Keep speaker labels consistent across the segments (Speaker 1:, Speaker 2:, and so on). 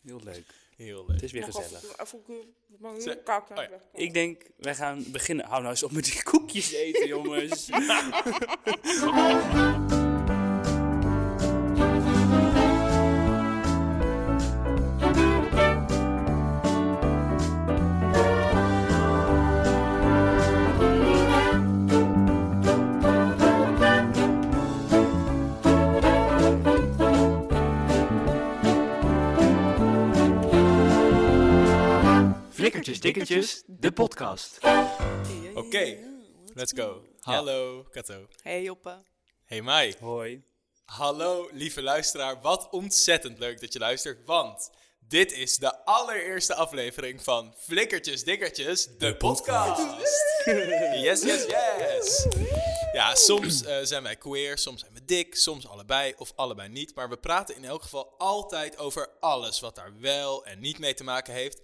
Speaker 1: Heel leuk.
Speaker 2: Heel
Speaker 1: Het
Speaker 2: leuk.
Speaker 1: is weer
Speaker 3: Nog
Speaker 1: gezellig.
Speaker 3: af- af- af- mag ik
Speaker 2: Ze-
Speaker 3: een kaart
Speaker 2: oh ja.
Speaker 3: weg?
Speaker 1: Ik denk, wij gaan beginnen. Hou nou eens op met die koekjes eten, jongens.
Speaker 4: Flikkertjes Dikkertjes, de podcast.
Speaker 2: Oké, let's go. Hallo, Kato.
Speaker 3: Hey Joppe.
Speaker 2: Hey, Mai.
Speaker 1: Hoi.
Speaker 2: Hallo, lieve luisteraar. Wat ontzettend leuk dat je luistert, want dit is de allereerste aflevering van Flikkertjes Dikkertjes, de podcast. Yes, yes, yes. Ja, soms eh, zijn wij queer, soms zijn we dik, soms allebei of allebei niet. Maar we praten in elk geval altijd over alles wat daar wel en niet mee te maken heeft.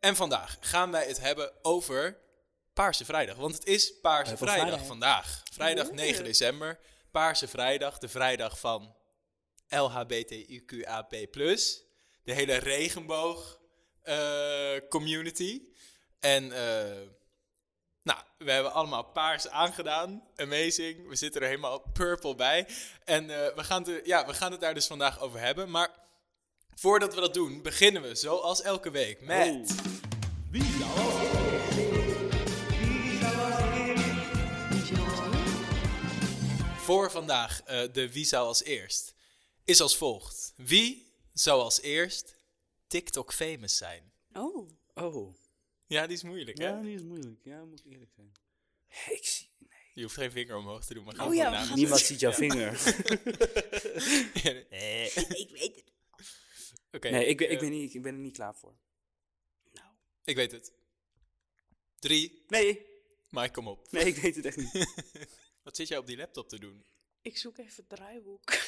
Speaker 2: En vandaag gaan wij het hebben over Paarse Vrijdag. Want het is Paarse
Speaker 1: Hebben we
Speaker 2: Vrijdag
Speaker 1: vrijdag?
Speaker 2: vandaag. Vrijdag 9 december. Paarse Vrijdag, de vrijdag van LHBTIQAP+. De hele regenboog eh, community. En eh, nou, we hebben allemaal paars aangedaan. Amazing. We zitten er helemaal purple bij. En eh, we, gaan het er- ja, we gaan het daar dus vandaag over hebben. Maar voordat we dat doen, beginnen we zoals elke week met...
Speaker 3: Oh.
Speaker 2: Voor vandaag eh, de wie zou als eerst is als volgt. Wie zou als eerst TikTok famous zijn?
Speaker 3: Oh.
Speaker 1: Oh.
Speaker 2: Ja, die is moeilijk hè?
Speaker 1: Ja, die is moeilijk. Ja, moet ik eerlijk zijn. Hey, ik zie...
Speaker 2: Je hoeft geen vinger omhoog te doen, maar
Speaker 3: Oh
Speaker 2: gewoon
Speaker 3: ja,
Speaker 2: gewoon
Speaker 3: we
Speaker 2: naam.
Speaker 3: gaan
Speaker 1: Niemand ziet jouw vinger.
Speaker 2: Nee.
Speaker 3: Ik weet het.
Speaker 2: Oké,
Speaker 1: Eh. Nee, ik ben,
Speaker 2: eh,
Speaker 1: ik, ben niet, ik ben er niet klaar voor.
Speaker 2: ik weet het. Drie,
Speaker 1: Nee,
Speaker 2: Mike, kom op.
Speaker 1: nee, ik weet het echt niet.
Speaker 2: Wat zit jij op die laptop te doen?
Speaker 3: Ik zoek even het draaiboek.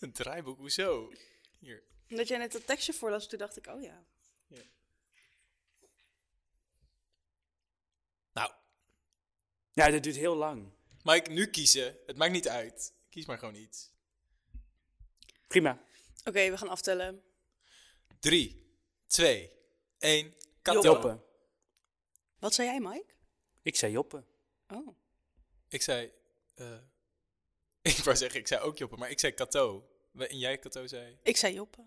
Speaker 2: Een draaiboek, hoezo? Hier.
Speaker 3: Omdat jij net dat tekstje voorlas, toen dacht ik, oh ja.
Speaker 2: Nou,
Speaker 1: Ja, dat duurt heel lang.
Speaker 2: Mike, nu kiezen. Het maakt niet uit. Kies maar gewoon iets.
Speaker 1: Prima.
Speaker 3: Oké, we gaan aftellen.
Speaker 2: Drie, twee, één. Kato.
Speaker 1: Joppen.
Speaker 3: Wat zei jij, Mike?
Speaker 1: Ik zei Joppen.
Speaker 3: Oh.
Speaker 2: Ik zei... eh, ik wou zeggen, ik zei ook Joppe, maar ik zei Kato. We- En jij Kato zei...
Speaker 3: Ik zei Joppe.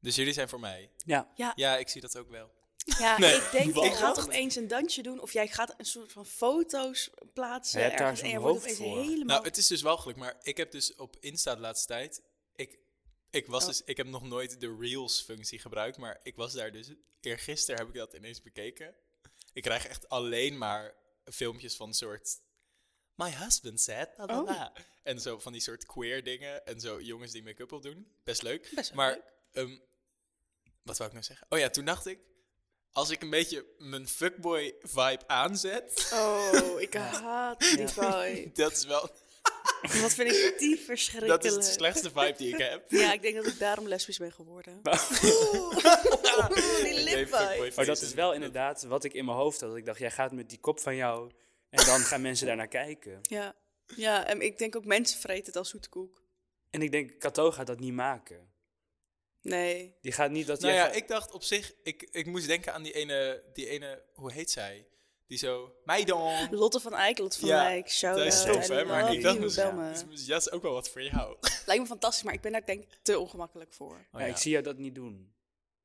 Speaker 2: Dus jullie zijn voor mij.
Speaker 1: Ja.
Speaker 2: Ja, ik zie dat ook wel.
Speaker 3: Ja,
Speaker 2: Nee,
Speaker 3: ik denk,
Speaker 2: wat?
Speaker 3: je gaat opeens een dansje doen of jij gaat een soort van foto's plaatsen.
Speaker 1: Je hebt daar
Speaker 3: ergens
Speaker 1: zo'n
Speaker 3: en je wordt
Speaker 1: hoofd
Speaker 3: opeens
Speaker 1: voor.
Speaker 3: helemaal...
Speaker 2: Nou, het is dus wel gelukt, maar ik heb dus op Insta de laatste tijd. Ik, ik, was
Speaker 3: Oh.
Speaker 2: dus, ik heb nog nooit de Reels-functie gebruikt, maar ik was daar dus. Eergisteren heb ik dat ineens bekeken. Ik krijg echt alleen maar filmpjes van soort. My husband said. bla, bla,
Speaker 3: Oh.
Speaker 2: bla." En zo van die soort queer dingen en zo jongens die make-up op doen. Best leuk.
Speaker 3: Best wel
Speaker 2: maar
Speaker 3: leuk.
Speaker 2: ehm, wat wou ik nou zeggen? Oh ja, toen dacht ik. Als ik een beetje mijn fuckboy vibe aanzet,
Speaker 3: Oh, ik haat die vibe.
Speaker 2: dat is wel
Speaker 3: Wat vind ik die verschrikkelijk.
Speaker 2: dat is de slechtste vibe die ik heb.
Speaker 3: Ja, ik denk dat ik daarom lesbisch ben geworden. Oh, die
Speaker 2: Nee, fuckboy
Speaker 3: lipvibe.
Speaker 1: Maar dat
Speaker 2: face
Speaker 1: is
Speaker 2: en-
Speaker 1: wel inderdaad wat ik in mijn hoofd had. Ik dacht, jij gaat met die kop van jou en dan gaan mensen daarnaar kijken.
Speaker 3: Ja. ja, en ik denk ook mensen vreten het als zoetkoek.
Speaker 1: En ik denk, Kato gaat dat niet maken.
Speaker 3: Nee.
Speaker 1: Die gaat niet dat
Speaker 2: Nou
Speaker 1: jij...
Speaker 2: ja,
Speaker 1: gaat-
Speaker 2: ik dacht op zich, ik, ik moest denken aan die ene, die ene, hoe heet zij? Die zo, Meidon.
Speaker 3: Lotte van Eyck, Lotte van
Speaker 2: Ja,
Speaker 3: Eyck, shout
Speaker 2: Dat is
Speaker 3: out.
Speaker 2: tof,
Speaker 3: I
Speaker 2: hè? Maar
Speaker 3: love
Speaker 2: ik dacht
Speaker 3: you,
Speaker 2: misschien,
Speaker 3: bel me.
Speaker 2: dus dat is ook wel wat voor jou.
Speaker 3: Lijkt me fantastisch, maar ik ben daar denk ik te ongemakkelijk voor.
Speaker 1: Oh,
Speaker 2: Oh,
Speaker 1: Ja, Ik zie jou dat niet doen.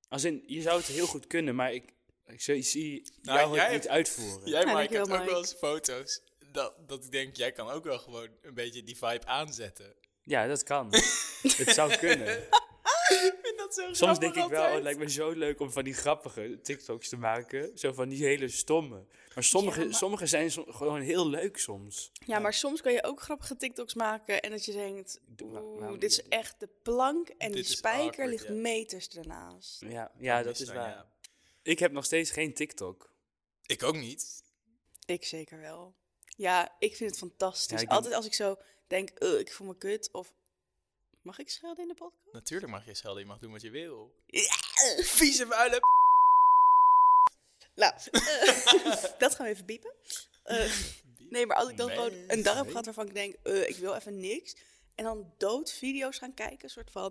Speaker 1: Als in, je zou het heel goed kunnen, maar ik, ik zie- zie
Speaker 2: Nou,
Speaker 1: jou
Speaker 2: jij
Speaker 1: het niet
Speaker 2: hebt-
Speaker 1: uitvoeren.
Speaker 2: Jij,
Speaker 3: Ja,
Speaker 2: maakt
Speaker 3: dankjewel,
Speaker 2: hebt ook wel
Speaker 3: Mike.
Speaker 2: eens foto's dat, dat ik denk, jij kan ook wel gewoon een beetje die vibe aanzetten.
Speaker 1: Ja, dat kan. het zou kunnen.
Speaker 2: Ik vind dat zo
Speaker 1: Soms
Speaker 2: grappig
Speaker 1: denk ik wel, oh,
Speaker 2: altijd.
Speaker 1: het lijkt me zo leuk om van die grappige TikToks te maken. Zo van die hele stomme. Maar sommige,
Speaker 3: Ja, maar-
Speaker 1: sommige zijn som- gewoon heel leuk soms.
Speaker 3: Ja, maar soms kan je ook grappige TikToks maken en dat je denkt,
Speaker 1: Doe maar-
Speaker 3: oeh,
Speaker 1: waarom doe
Speaker 3: dit is
Speaker 1: je dat?
Speaker 3: echt de plank en die
Speaker 2: Dit is
Speaker 3: spijker
Speaker 2: awkward,
Speaker 3: ligt
Speaker 2: ja.
Speaker 3: meters ernaast.
Speaker 1: Ja, ja dat is
Speaker 2: dan,
Speaker 1: waar.
Speaker 2: ja.
Speaker 1: Ik heb nog steeds geen TikTok.
Speaker 2: Ik ook niet.
Speaker 3: Ik zeker wel. Ja, ik vind het fantastisch.
Speaker 1: Ja, ik
Speaker 3: Altijd als ik zo denk, "Ugh, ik voel me kut of mag ik schelden in de podcast?
Speaker 2: Natuurlijk mag je schelden, je mag doen wat je wil.
Speaker 3: Ja.
Speaker 2: Vieze vuile p-
Speaker 3: Nou, eh, dat gaan we even piepen. Eh, nee, maar als ik dan
Speaker 2: Nee.
Speaker 3: gewoon een dag heb gehad waarvan ik denk, eh, ik wil even niks. En dan dood video's gaan kijken, soort van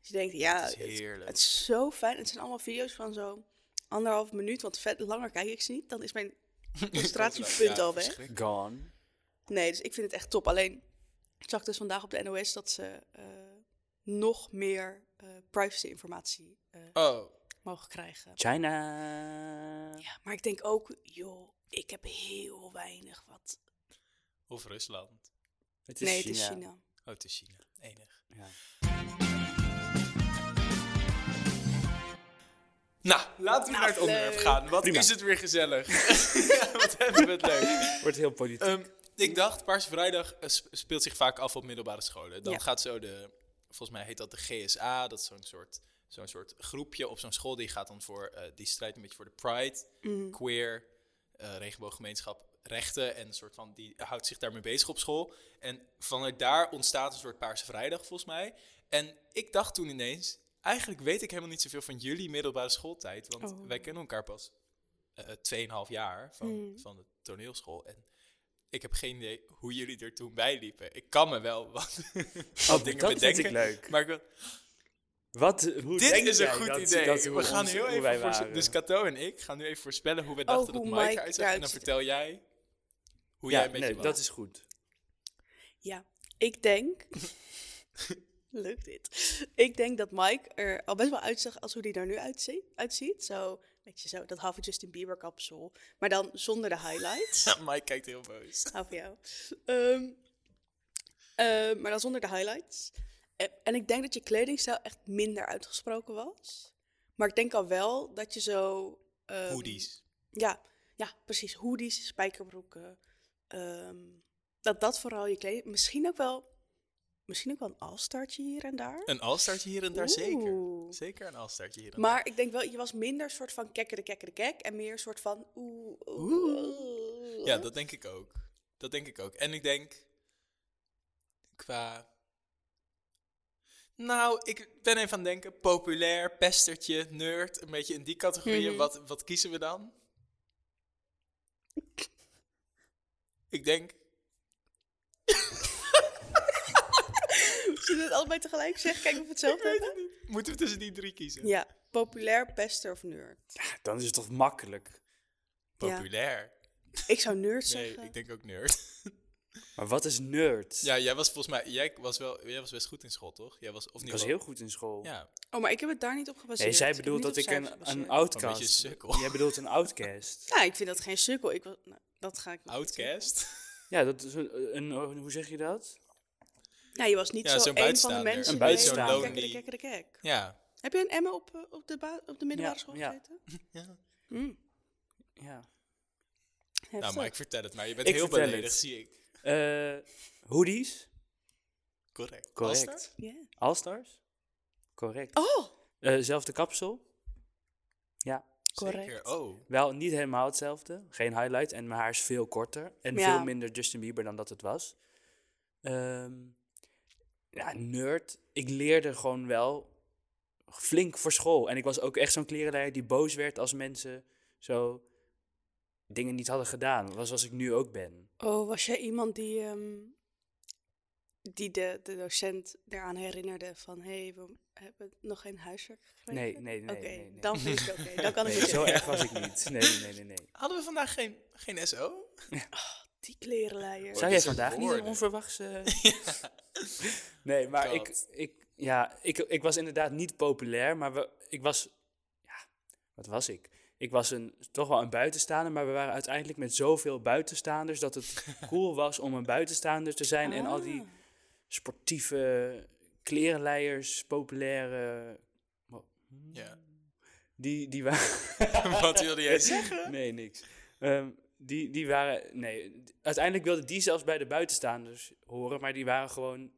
Speaker 3: Dus je denkt, ja,
Speaker 2: Het
Speaker 3: het
Speaker 2: is heerlijk.
Speaker 3: het is zo fijn. Het zijn allemaal video's van zo anderhalf minuut, want vet, langer kijk ik ze niet. Dan is mijn concentratiepunt
Speaker 2: Ja,
Speaker 3: al weg.
Speaker 2: verschrikkelijk.
Speaker 1: Gone.
Speaker 3: Nee, dus ik vind het echt top. Alleen ik zag dus vandaag op de NOS dat ze eh, nog meer eh, privacy-informatie eh,
Speaker 2: Oh,
Speaker 3: mogen krijgen.
Speaker 1: China.
Speaker 3: Ja, maar ik denk ook, joh, ik heb heel weinig wat.
Speaker 2: of Rusland.
Speaker 1: Het
Speaker 3: Nee, het is China.
Speaker 2: Oh, het is China. Enig.
Speaker 1: Ja.
Speaker 2: Nou, laten we
Speaker 3: Nou,
Speaker 2: naar het onderwerp
Speaker 3: leuk.
Speaker 2: gaan. Wat
Speaker 1: Prima.
Speaker 2: is het weer gezellig. Ja, Wat hebben we het leuk.
Speaker 1: Wordt heel politiek.
Speaker 2: Ehm, ik dacht, Paarse Vrijdag eh, sp- speelt zich vaak af op middelbare scholen. Dan
Speaker 3: Ja.
Speaker 2: gaat zo de, volgens mij heet dat de GSA, dat is zo'n soort, zo'n soort groepje op zo'n school. Die gaat dan voor, eh, die strijdt een beetje voor de pride,
Speaker 3: Mm.
Speaker 2: queer, eh, regenbooggemeenschap, rechten. En een soort van, die houdt zich daarmee bezig op school. En vanuit daar ontstaat een soort Paarse Vrijdag volgens mij. En ik dacht toen ineens, eigenlijk weet ik helemaal niet zoveel van jullie middelbare schooltijd. Want
Speaker 3: Oh.
Speaker 2: wij kennen elkaar pas eh, 2,5 jaar van,
Speaker 3: Hmm.
Speaker 2: van de toneelschool. En ik heb geen idee hoe jullie er toen bij liepen. Ik kan me wel wat, wat dingen
Speaker 1: Oh, dat vind
Speaker 2: bedenken.
Speaker 1: ik leuk.
Speaker 2: Maar ik wil,
Speaker 1: Wat, hoe
Speaker 2: dit
Speaker 1: denk
Speaker 2: is een
Speaker 1: jij
Speaker 2: goed
Speaker 1: dat-
Speaker 2: idee.
Speaker 1: dat
Speaker 2: we
Speaker 1: hoe
Speaker 2: gaan
Speaker 1: ons-
Speaker 2: heel
Speaker 1: hoe
Speaker 2: even
Speaker 1: wij
Speaker 2: voorspellen.
Speaker 1: waren?
Speaker 2: Dus Cato en ik gaan nu even voorspellen hoe we dachten
Speaker 3: Oh, hoe
Speaker 2: dat Mike
Speaker 3: Mike
Speaker 2: eruit zag. En dan
Speaker 3: eruit ziet.
Speaker 2: vertel jij hoe
Speaker 1: ja,
Speaker 2: jij een beetje
Speaker 1: nee,
Speaker 2: was.
Speaker 1: dat is goed.
Speaker 3: Ja, ik denk. Leuk dit. Ik denk dat Mike er al best wel uitzag als hoe die er nu uitzie- uitziet. Zo, weet je, zo dat halve Justin Bieber kapsel. Maar dan zonder de highlights.
Speaker 2: Mike kijkt heel boos.
Speaker 3: Hou van jou. Ehm, ehm, maar dan zonder de highlights. En, en ik denk dat je kledingstijl echt minder uitgesproken was. Maar ik denk al wel dat je zo... ehm,
Speaker 2: Hoodies.
Speaker 3: Ja, ja, precies. Hoodies, spijkerbroeken. ehm, dat dat vooral je kleding... Misschien ook wel... Misschien ook wel een alstartje hier en daar.
Speaker 1: Eh.
Speaker 2: Een alstartje hier en daar, zeker.
Speaker 3: Oeh.
Speaker 2: Zeker een alstartje hier en
Speaker 3: Maar ik denk wel, je was minder soort van kekkere, kekkere, kek. En meer soort van oeh, oeh, oeh.
Speaker 2: Ja, dat denk ik ook. Dat denk ik ook. En ik denk qua. Nou, ik ben even aan het denken. Populair, pestertje, nerd. Een beetje in die categorieën.
Speaker 3: Mhm.
Speaker 2: Wat, wat kiezen we dan? ik denk.
Speaker 3: Zullen we het allebei tegelijk zeggen? Kijken of we hetzelfde hebben?
Speaker 2: Moeten we tussen die drie kiezen?
Speaker 3: Ja, populair, pester of nerd?
Speaker 1: Dan is het toch makkelijk.
Speaker 2: Populair.
Speaker 3: Ik zou nerd
Speaker 2: Nee,
Speaker 3: zeggen.
Speaker 2: ik denk ook nerd.
Speaker 1: Maar wat is nerd?
Speaker 2: ja, jij was volgens mij. Jij was, wel, jij was best goed in school, toch? Jij was, of niet
Speaker 1: ik was heel goed in school.
Speaker 2: Ja,
Speaker 3: Oh, maar ik heb het daar niet op gebaseerd.
Speaker 1: Nee, zij
Speaker 3: heb
Speaker 1: bedoelt
Speaker 3: niet
Speaker 1: dat ik
Speaker 3: op cijfers oh,
Speaker 1: een, een
Speaker 3: gebaseerd.
Speaker 2: een beetje
Speaker 1: outcast...
Speaker 2: sukkel.
Speaker 1: Jij bedoelt een outcast.
Speaker 3: Nou, ik vind dat geen sukkel. Ik, was- nou, dat ga ik niet
Speaker 2: Outcast.
Speaker 1: ja, dat is een, een- oh, hoe zeg je dat?
Speaker 3: zeggen. Nou, je was niet
Speaker 2: Ja, zo'n
Speaker 3: zo één van de
Speaker 2: buitenstaander.
Speaker 3: mensen.
Speaker 1: Een
Speaker 3: die-
Speaker 1: buitenstaander.
Speaker 3: Kijk,
Speaker 2: Zo'n
Speaker 3: kijk,
Speaker 2: lonely-
Speaker 3: kijk, kijk, kijk.
Speaker 2: ja.
Speaker 3: Heb je een Emma op, eh, op, de, ba- op de middelbare
Speaker 1: Ja,
Speaker 3: school
Speaker 1: ja. Nou,
Speaker 3: gezeten?
Speaker 2: ja.
Speaker 1: Ja.
Speaker 3: Heftig.
Speaker 2: Nou, maar ik vertel het maar. Je bent
Speaker 1: Ik
Speaker 2: heel
Speaker 1: vertel
Speaker 2: beledigd,
Speaker 1: het.
Speaker 2: zie ik.
Speaker 1: Eh, hoodies?
Speaker 2: Correct.
Speaker 1: Correct.
Speaker 2: Was dat?
Speaker 3: Ja.
Speaker 1: Allstars? Correct.
Speaker 3: Oh,
Speaker 1: Eh, zelfde kapsel? Ja.
Speaker 3: correct.
Speaker 2: Zeker. Oh.
Speaker 1: Wel niet helemaal hetzelfde. Geen highlight. En mijn haar is veel korter. En
Speaker 3: Ja.
Speaker 1: veel minder Justin Bieber dan dat het was. Ehm, ja, nerd. Ik leerde gewoon wel flink voor school. En ik was ook echt zo'n klerenleier die boos werd als mensen zo dingen niet hadden gedaan. Was als ik nu ook ben.
Speaker 3: Oh, was jij iemand die, ehm, die de, de docent eraan herinnerde van... hé, hey, we hebben nog geen huiswerk gekregen?
Speaker 1: Nee, nee, nee,
Speaker 3: Oké,
Speaker 1: nee, nee.
Speaker 3: dan vind ik het oké. Dan kan ik
Speaker 1: Nee,
Speaker 3: het
Speaker 1: zo
Speaker 3: zeggen.
Speaker 1: erg was ik niet. Nee, nee, nee, nee. nee.
Speaker 2: Hadden we vandaag geen, geen SO?
Speaker 3: Die klerenleier.
Speaker 1: Zou
Speaker 2: dit
Speaker 1: jij
Speaker 2: zijn
Speaker 1: vandaag niet een
Speaker 2: woorden.
Speaker 1: onverwachts... eh, nee, maar ik,
Speaker 2: God.
Speaker 1: ik, ja, ik, ik was inderdaad niet populair, maar we, ik was... Ja, wat was ik? Ik was een, toch wel een buitenstaander, maar we waren uiteindelijk met zoveel buitenstaanders... dat het cool was om een buitenstaander te zijn. En al die sportieve klerenleiers, populaire... Mm.
Speaker 2: Ja.
Speaker 1: Die, die waren...
Speaker 2: Wat wilde jij zeggen?
Speaker 1: Nee, niks. Ehm, die, die waren. Nee, d- uiteindelijk wilden die zelfs bij de buitenstaanders horen, maar die waren gewoon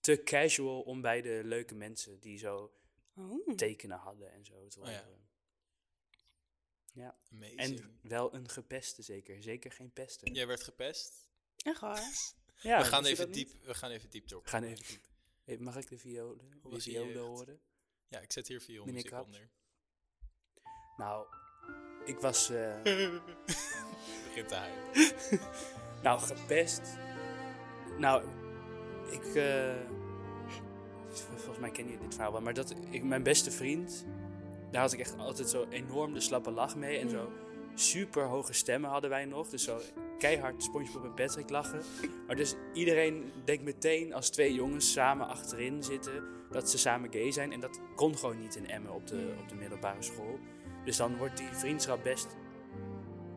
Speaker 1: te casual om bij de leuke mensen die zo
Speaker 3: Ah. Oh.
Speaker 1: tekenen hadden en zo te
Speaker 2: Oh ja.
Speaker 1: horen. ja.
Speaker 2: Amazing.
Speaker 1: en wel een gepeste zeker. Zeker geen pesten.
Speaker 2: Jij werd gepest.
Speaker 3: Echt waar?
Speaker 1: Ja,
Speaker 2: we, gaan
Speaker 1: wist je
Speaker 2: even
Speaker 1: dat niet?
Speaker 2: diep, we gaan even diep door.
Speaker 1: We gaan even diep. Hey, mag ik de violen, de
Speaker 2: was die eh, jeugd?
Speaker 1: violen horen?
Speaker 2: Ja, ik zet hier veel
Speaker 1: Meneer
Speaker 2: muziek
Speaker 1: Krabs.
Speaker 2: onder.
Speaker 1: Nou, ik was. eh,
Speaker 2: Begint te huilen.
Speaker 1: Nou, gepest. Nou, ik eh, Volgens mij ken je dit verhaal wel. Maar dat ik, mijn beste vriend, daar had ik echt altijd zo enorm de slappe lach mee. En zo super hoge stemmen hadden wij nog. Dus zo keihard SpongeBob en Patrick lachen. Maar dus iedereen denkt meteen als twee jongens samen achterin zitten dat ze samen gay zijn. En dat kon gewoon niet in Emmen op de, op de middelbare school. Dus dan wordt die vriendschap best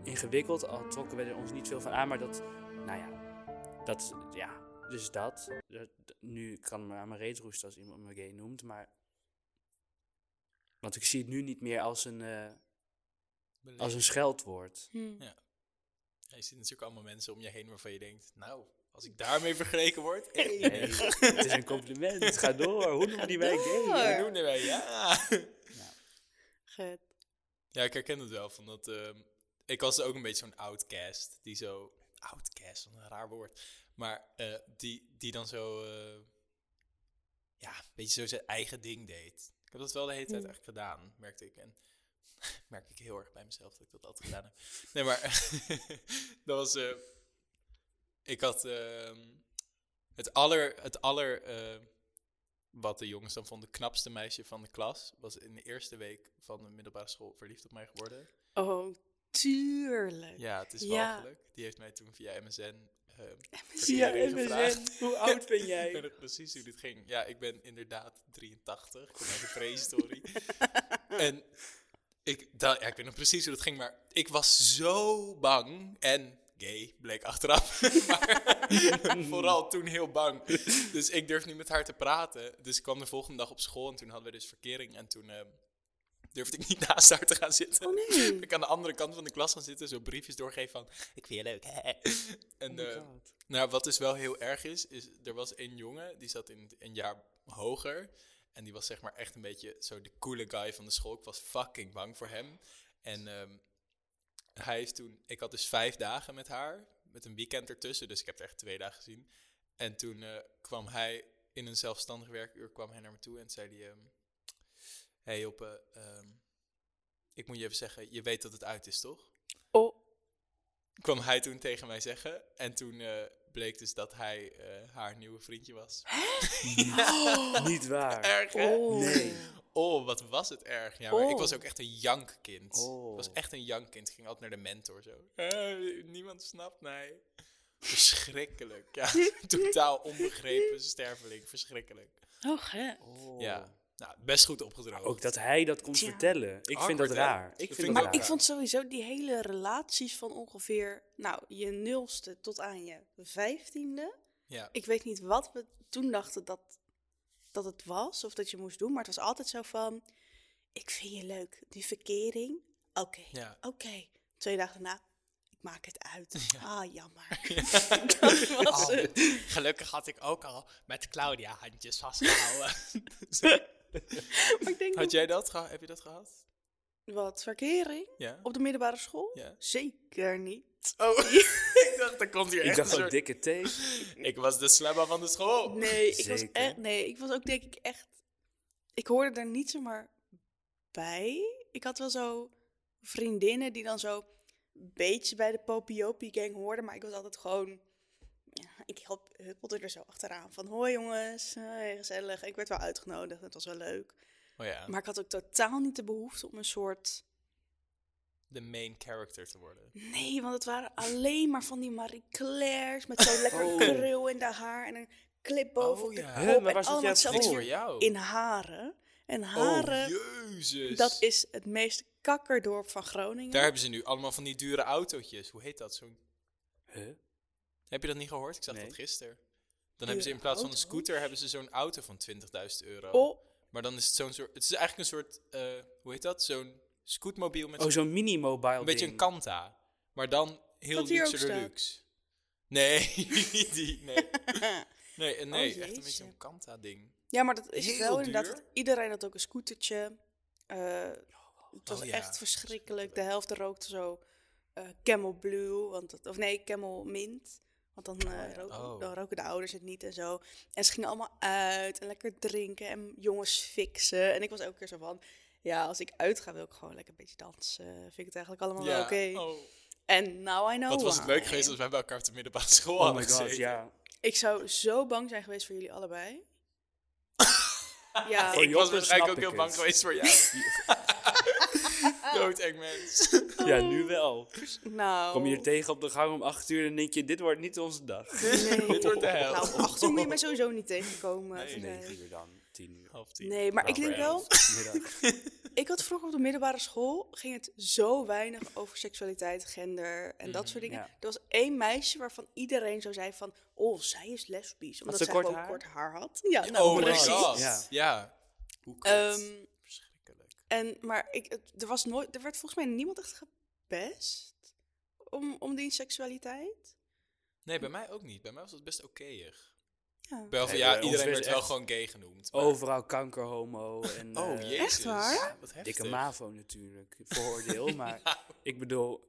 Speaker 1: ingewikkeld. Al trokken we er ons niet veel van aan. Maar dat, nou ja, dat, ja, dus dat. Dat- Nu kan me aan mijn reet roesten als iemand me gay noemt, maar... Want ik zie het nu niet meer als een, eh, als een scheldwoord.
Speaker 2: Ja, je ziet natuurlijk allemaal mensen om je heen waarvan je denkt, nou, als ik daarmee vergeleken word, hey,
Speaker 1: Nee, het is een compliment. Ga door. Hoe noemen die mij gay?
Speaker 2: we
Speaker 3: Door.
Speaker 2: doen erbij, ja.
Speaker 3: Get.
Speaker 2: Ja, ik herken het wel, van dat, ehm, ik was ook een beetje zo'n outcast, die zo, outcast, wat een raar woord, maar eh, die, die dan zo, eh, ja, een beetje zo zijn eigen ding deed. Ik heb dat wel de hele tijd echt gedaan, merkte ik. En merk ik heel erg bij mezelf dat ik dat altijd gedaan heb. Nee, maar dat was. eh, ik had ehm, het aller. Het aller eh, wat de jongens dan vonden, knapste meisje van de klas. Was in de eerste week van de middelbare school verliefd op mij geworden.
Speaker 3: Oh, tuurlijk.
Speaker 2: Ja, het is
Speaker 3: Ja.
Speaker 2: wel geluk. Die heeft mij toen via MSN. Uh,
Speaker 1: Ja, MSN. Hoe oud ben
Speaker 2: ik weet
Speaker 1: jij?
Speaker 2: nog precies hoe dit ging. Ja, ik ben inderdaad 83. Ik kom uit de prehistorie. en ik, da- ja, ik weet nog precies hoe dat ging, maar ik was zo bang. En gay, bleek achteraf. maar vooral toen heel bang. Dus ik durfde niet met haar te praten. Dus ik kwam de volgende dag op school en toen hadden we dus verkering. En toen... ehm, durfde ik niet naast haar te gaan zitten.
Speaker 3: Oh, nee.
Speaker 2: Ik aan de andere kant van de klas gaan zitten, zo briefjes doorgeven van... Ik vind je leuk, hè?"
Speaker 1: Oh
Speaker 2: En eh, nou, wat dus wel heel erg is, is er was één jongen, die zat in het- een jaar hoger. En die was zeg maar echt een beetje zo de coole guy van de school. Ik was fucking bang voor hem. En ehm, hij heeft toen... Ik had dus vijf dagen met haar, met een weekend ertussen. Dus ik heb er echt twee dagen gezien. En toen eh, kwam hij in een zelfstandig werkuur kwam hij naar me toe en zei hij... ehm, hey Joppe, ehm, ik moet je even zeggen, je weet dat het uit is, toch?
Speaker 3: Oh,
Speaker 2: kwam hij toen tegen mij zeggen. En toen eh, bleek dus dat hij eh, haar nieuwe vriendje was.
Speaker 1: Niet waar.
Speaker 2: Erg, hè?
Speaker 3: oh.
Speaker 1: Nee.
Speaker 2: Oh, wat was het erg. Ja, maar ik
Speaker 3: Oh.
Speaker 2: was ook echt een jankkind.
Speaker 1: Oh.
Speaker 2: Ik was echt een jankkind. Ik ging altijd naar de mentor zo. Eh, niemand snapt mij. Verschrikkelijk. Ja, totaal onbegrepen sterveling. Verschrikkelijk.
Speaker 3: Oh, get.
Speaker 2: Ja, nou, best goed opgedroogd.
Speaker 1: Ook dat hij dat kon
Speaker 3: Tja.
Speaker 1: vertellen. Ik vind dat
Speaker 2: Awkward, hè?
Speaker 1: raar.
Speaker 2: Dat
Speaker 1: Ik
Speaker 2: vind
Speaker 1: vind
Speaker 2: ik
Speaker 1: dat
Speaker 2: ook
Speaker 3: Maar ik
Speaker 1: raar.
Speaker 3: vond sowieso die hele relaties van ongeveer, nou, je nulste tot aan je vijftiende.
Speaker 2: Ja.
Speaker 3: Ik weet niet wat we toen dachten dat, dat het was of dat je moest doen, maar het was altijd zo van, ik vind je leuk, die verkering, oké,
Speaker 2: Ja.
Speaker 3: oké. Twee dagen daarna, ik maak het uit. Ah, jammer. dat
Speaker 2: Oh,
Speaker 3: was het.
Speaker 2: gelukkig had ik ook al met Claudia handjes vastgehouden. Zo.
Speaker 3: Maar ik denk,
Speaker 2: had jij dat? geha- Heb je dat gehad?
Speaker 3: wat, verkering?
Speaker 2: Ja.
Speaker 3: Op de middelbare school?
Speaker 2: Ja.
Speaker 3: Zeker niet.
Speaker 2: Oh, ik dacht, er komt hier
Speaker 1: Ik
Speaker 2: echt
Speaker 1: dacht
Speaker 2: een
Speaker 1: gewoon
Speaker 2: soort-
Speaker 1: dikke thee.
Speaker 2: Ik was de slabba van de school.
Speaker 3: Nee, ik was
Speaker 1: Zeker.
Speaker 3: echt. Nee, ik was ook denk ik echt. Ik hoorde er niet zomaar bij. Ik had wel zo vriendinnen die dan zo een beetje bij de Popiopi gang hoorden, maar ik was altijd gewoon. Ja, ik hop- huppelde er zo achteraan van hoi jongens, hey, gezellig. Ik werd wel uitgenodigd, het was wel leuk.
Speaker 2: Oh ja,
Speaker 3: Maar ik had ook totaal niet de behoefte om een soort
Speaker 2: de main character te worden.
Speaker 3: Nee, want het waren alleen maar van die Marie Claire's met zo'n lekker
Speaker 1: Oh.
Speaker 3: krul in de haar en een clip boven
Speaker 2: Oh
Speaker 3: op de
Speaker 2: ja.
Speaker 3: kop.
Speaker 1: Hè, maar waar
Speaker 3: en
Speaker 1: zat
Speaker 3: allemaal
Speaker 1: jij
Speaker 3: hetzelfde
Speaker 1: voor?
Speaker 3: kleur
Speaker 2: jou.
Speaker 3: in haren. En haren,
Speaker 2: Oh, jezus.
Speaker 3: dat is het meest kakkerdorp van Groningen.
Speaker 2: Daar hebben ze nu allemaal van die dure autootjes. Hoe heet dat? Zo'n...
Speaker 1: Huh?
Speaker 2: Heb je dat niet gehoord? Ik zag
Speaker 1: Nee.
Speaker 2: dat gisteren. Dan hebben ze in plaats van een scooter hebben ze zo'n auto van 20.000 euro.
Speaker 3: Oh,
Speaker 2: Maar dan is het zo'n soort... Het is eigenlijk een soort... eh, hoe heet dat? Zo'n scootmobiel met
Speaker 1: Oh, zo'n mini-mobile
Speaker 2: een beetje een
Speaker 1: ding.
Speaker 2: Kanta. Maar dan heel
Speaker 3: Dat hier ook
Speaker 2: luxe de
Speaker 3: staat.
Speaker 2: luxe. Nee, niet die, nee. Nee, eh, nee
Speaker 3: Oh,
Speaker 2: echt een beetje
Speaker 3: jeetje.
Speaker 2: zo'n Kanta ding.
Speaker 3: ja, maar dat is
Speaker 2: Heel
Speaker 3: wel inderdaad.
Speaker 2: duur.
Speaker 3: dat Iedereen had ook een scootertje. Eh, het was
Speaker 2: Oh ja,
Speaker 3: echt verschrikkelijk. De helft rookte zo eh, Camel Blue, want dat, of nee, Camel Mint. Want dan, eh, roken,
Speaker 2: Oh.
Speaker 3: dan roken de ouders het niet en zo. En ze gingen allemaal uit en lekker drinken en jongens fixen. En ik was elke keer zo van, ja, als ik uitga wil ik gewoon lekker een beetje dansen. Vind ik het eigenlijk allemaal wel oké.
Speaker 2: Oh.
Speaker 3: En now I know
Speaker 2: Wat was het leuk
Speaker 3: why.
Speaker 2: geweest als wij bij elkaar op de middelbare school
Speaker 1: Oh
Speaker 2: hadden
Speaker 1: my god,
Speaker 2: gezeten.
Speaker 1: ja.
Speaker 3: Ik zou zo bang zijn geweest voor jullie allebei. Ja,
Speaker 1: Voor
Speaker 2: ik was
Speaker 1: Joppe
Speaker 2: waarschijnlijk
Speaker 1: Oh, snap
Speaker 2: ook
Speaker 1: ik
Speaker 2: heel
Speaker 1: het.
Speaker 2: bang geweest voor jou. Doodeng mens.
Speaker 1: Ja, nu wel.
Speaker 3: nou.
Speaker 1: Kom je hier tegen op de gang om acht uur en denk je, dit wordt niet onze dag.
Speaker 3: Nee.
Speaker 2: Dit wordt de hel.
Speaker 3: Nou, om acht uur moet je mij sowieso niet tegenkomen.
Speaker 2: Nee,
Speaker 1: Negen uur dan, tien uur.
Speaker 2: Half tien.
Speaker 3: Nee, maar ik
Speaker 2: Kwart
Speaker 3: denk
Speaker 2: voor
Speaker 3: wel,
Speaker 2: elf.
Speaker 1: Middag.
Speaker 3: ik had vroeger op de middelbare school, ging het zo weinig over seksualiteit, gender en dat soort
Speaker 2: Mhm,
Speaker 3: dingen.
Speaker 1: ja.
Speaker 3: Er was één meisje waarvan iedereen zo zei van, oh, zij is lesbisch. Omdat
Speaker 1: ze
Speaker 3: zij
Speaker 1: kort
Speaker 3: gewoon
Speaker 1: haar?
Speaker 3: kort haar had. Ja,
Speaker 2: oh
Speaker 3: nou,
Speaker 2: my
Speaker 3: precies.
Speaker 2: god.
Speaker 1: Ja.
Speaker 2: Ja. Hoe kut.
Speaker 3: Ehm,
Speaker 2: Verschrikkelijk.
Speaker 3: en, maar ik, het- er, was nooit, er werd volgens mij niemand echt gepest om, om die seksualiteit.
Speaker 2: Nee, bij mij ook niet. Bij mij was het best okéig.
Speaker 3: Ja.
Speaker 2: Wel van,
Speaker 1: Nee,
Speaker 2: ja,
Speaker 1: bij ons
Speaker 2: iedereen
Speaker 1: werd
Speaker 2: werd wel
Speaker 1: echt
Speaker 2: gewoon gay genoemd. maar-
Speaker 1: Overal kanker, homo en
Speaker 2: Oh,
Speaker 1: eh,
Speaker 2: jezus.
Speaker 3: Echt waar?
Speaker 2: Ja, Wat heftig.
Speaker 1: dikke mavo natuurlijk. Vooroordeel, maar ik bedoel...
Speaker 3: Oh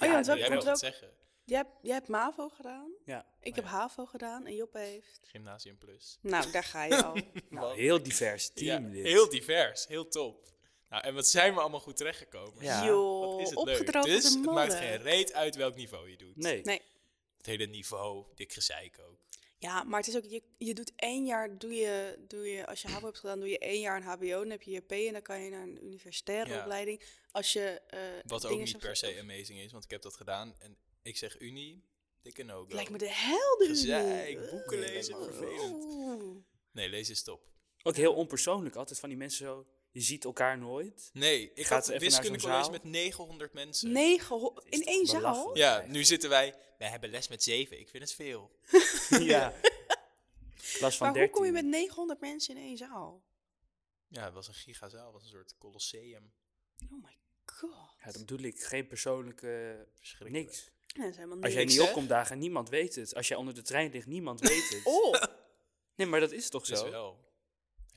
Speaker 3: ja, want
Speaker 1: dat
Speaker 3: wij
Speaker 2: Jij
Speaker 3: komt
Speaker 2: mag het
Speaker 3: ook-
Speaker 2: zeggen.
Speaker 3: Jij, hebt- jij hebt MAVO gedaan,
Speaker 1: Ja,
Speaker 3: ik
Speaker 2: Oh
Speaker 3: heb
Speaker 2: ja.
Speaker 3: HAVO gedaan en Job heeft...
Speaker 2: Gymnasium plus.
Speaker 3: Nou, daar ga je al.
Speaker 1: nou, heel divers
Speaker 2: Ja,
Speaker 1: team dit.
Speaker 2: heel divers. Heel top. Nou, en wat zijn we allemaal goed terechtgekomen.
Speaker 1: Ja.
Speaker 3: Joh,
Speaker 2: Wat is het leuk.
Speaker 3: opgedroogd als
Speaker 2: Dus het
Speaker 3: een
Speaker 2: maakt
Speaker 3: modder.
Speaker 2: geen reet uit welk niveau je doet.
Speaker 1: Nee.
Speaker 3: Nee.
Speaker 2: Het hele niveau, dik gezeik ook.
Speaker 3: Ja, maar het is ook, je, je doet één jaar, doe je, doe je, als je HBO hebt gedaan, doe je één jaar een HBO, dan heb je je P en dan kan je naar een universitaire
Speaker 2: Ja.
Speaker 3: opleiding. Als je, eh,
Speaker 2: Wat ook
Speaker 3: dingen
Speaker 2: niet
Speaker 3: zou-
Speaker 2: per se amazing is, want ik heb dat gedaan. En ik zeg unie, dikke no-go.
Speaker 3: Lijkt me de helder.
Speaker 2: Gezeik, boeken lezen, vervelend. Nee, lezen is top.
Speaker 1: Ook heel onpersoonlijk altijd van die mensen zo... Je ziet elkaar nooit.
Speaker 2: Nee, ik
Speaker 1: Gaat
Speaker 2: had
Speaker 1: ze
Speaker 2: een
Speaker 1: even naar zo'n
Speaker 2: wiskundecollege
Speaker 1: zaal?
Speaker 2: met 900 mensen.
Speaker 3: Negen, in één
Speaker 1: toch
Speaker 3: zaal?
Speaker 1: belachelijk?
Speaker 2: Ja, nu zitten wij. Wij hebben les met zeven. Ik vind het veel.
Speaker 1: ja. Klas van
Speaker 3: Maar
Speaker 1: 13.
Speaker 3: hoe kom je met 900 mensen in één zaal?
Speaker 2: Ja, het was een gigazaal. Het was een soort colosseum.
Speaker 3: Oh my god.
Speaker 1: Ja, dat bedoel ik. Geen persoonlijke...
Speaker 2: Verschrikkelijk.
Speaker 1: Niks.
Speaker 3: Nee, dat is helemaal
Speaker 1: Als jij
Speaker 3: niks.
Speaker 1: niet
Speaker 2: hè?
Speaker 1: opkomt dagen, niemand weet het. Als jij onder de trein ligt, niemand weet het.
Speaker 3: Oh,
Speaker 1: Nee, maar dat is toch
Speaker 2: Dus
Speaker 1: zo?
Speaker 2: wel.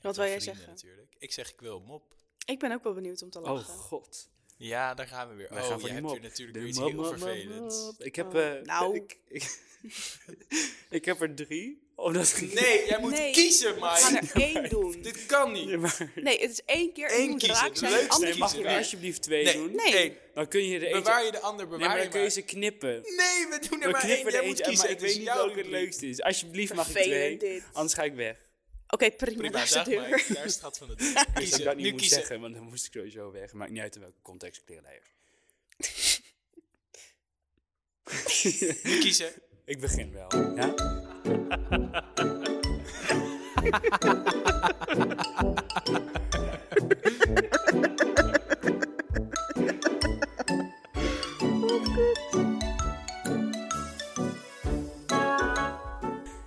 Speaker 3: Wat
Speaker 2: wil
Speaker 3: wou jij zeggen?
Speaker 2: Natuurlijk. Ik zeg, ik wil een mop.
Speaker 3: ik ben ook wel benieuwd om te
Speaker 1: Oh
Speaker 3: lachen.
Speaker 1: god.
Speaker 2: Ja, daar gaan we weer.
Speaker 1: Wij
Speaker 2: oh,
Speaker 1: gaan voor
Speaker 2: jij
Speaker 1: die mop.
Speaker 2: hebt hier natuurlijk
Speaker 1: De
Speaker 2: weer iets
Speaker 1: mop,
Speaker 2: heel
Speaker 1: mop, mop,
Speaker 2: vervelends.
Speaker 1: mop. Ik heb,
Speaker 3: Oh.
Speaker 1: eh,
Speaker 3: Nou.
Speaker 1: ik, ik, ik heb er drie. Omdat ik-
Speaker 2: Nee, jij moet
Speaker 3: Nee.
Speaker 2: kiezen,
Speaker 3: We gaan
Speaker 2: Mike.
Speaker 3: er één doen.
Speaker 2: Dit kan niet.
Speaker 1: Nee, maar,
Speaker 3: Nee, het is één keer.
Speaker 2: Eén
Speaker 3: Eén moet
Speaker 2: kiezen,
Speaker 3: raak
Speaker 2: de
Speaker 3: zijn.
Speaker 2: leukste
Speaker 3: Anders mag
Speaker 1: mag
Speaker 2: kiezen
Speaker 1: je
Speaker 3: je
Speaker 1: er
Speaker 2: wij.
Speaker 3: weer.
Speaker 1: alsjeblieft twee
Speaker 2: Nee.
Speaker 1: doen?
Speaker 3: Nee.
Speaker 2: Eén.
Speaker 1: Dan kun je er eentje...
Speaker 2: Bewaar je de ander,
Speaker 1: nee,
Speaker 2: bewaar
Speaker 1: maar
Speaker 2: je
Speaker 1: dan kun je
Speaker 2: maar.
Speaker 1: ze knippen.
Speaker 2: Nee, we doen er
Speaker 1: We
Speaker 2: maar één.
Speaker 1: knippen er
Speaker 2: Jij moet
Speaker 1: eentje uit,
Speaker 2: kiezen.
Speaker 1: maar ik
Speaker 2: het is
Speaker 1: weet niet
Speaker 2: jouw
Speaker 1: welke het
Speaker 2: rubriek.
Speaker 1: leukste is. Alsjeblieft mag je twee.
Speaker 3: Vervelend dit.
Speaker 1: Anders ga ik weg.
Speaker 3: Oké, prima.
Speaker 2: Prima,
Speaker 3: daar is de
Speaker 2: zeg maar. Daar
Speaker 3: deur.
Speaker 2: is het gat van de
Speaker 1: Dus
Speaker 2: deur.
Speaker 1: dat ik dat
Speaker 2: Kiezen.
Speaker 1: niet
Speaker 2: Nu
Speaker 1: moet
Speaker 2: kiezen.
Speaker 1: zeggen, want dan moest ik sowieso weg. Maakt niet uit in welke context ik leerleider.
Speaker 2: Nu kiezen.
Speaker 1: Ik begin wel. Ja?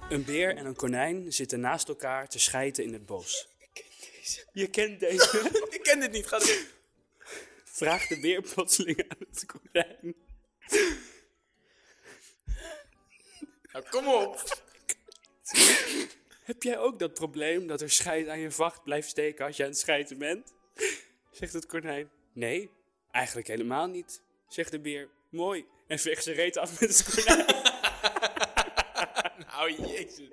Speaker 1: Een beer en een konijn zitten naast elkaar te schijten in het bos. Je kent deze.
Speaker 2: Ik ken dit niet. Ga door.
Speaker 1: Vraagt de beer plotseling aan het konijn.
Speaker 2: Nou, kom op.
Speaker 1: Heb jij ook dat probleem dat er scheid aan je vacht blijft steken als je aan het schijten bent? Zegt het konijn. Nee, eigenlijk helemaal niet. Zegt de beer. Mooi. En veegt zijn reet af met het konijn.
Speaker 2: Nou, jezus.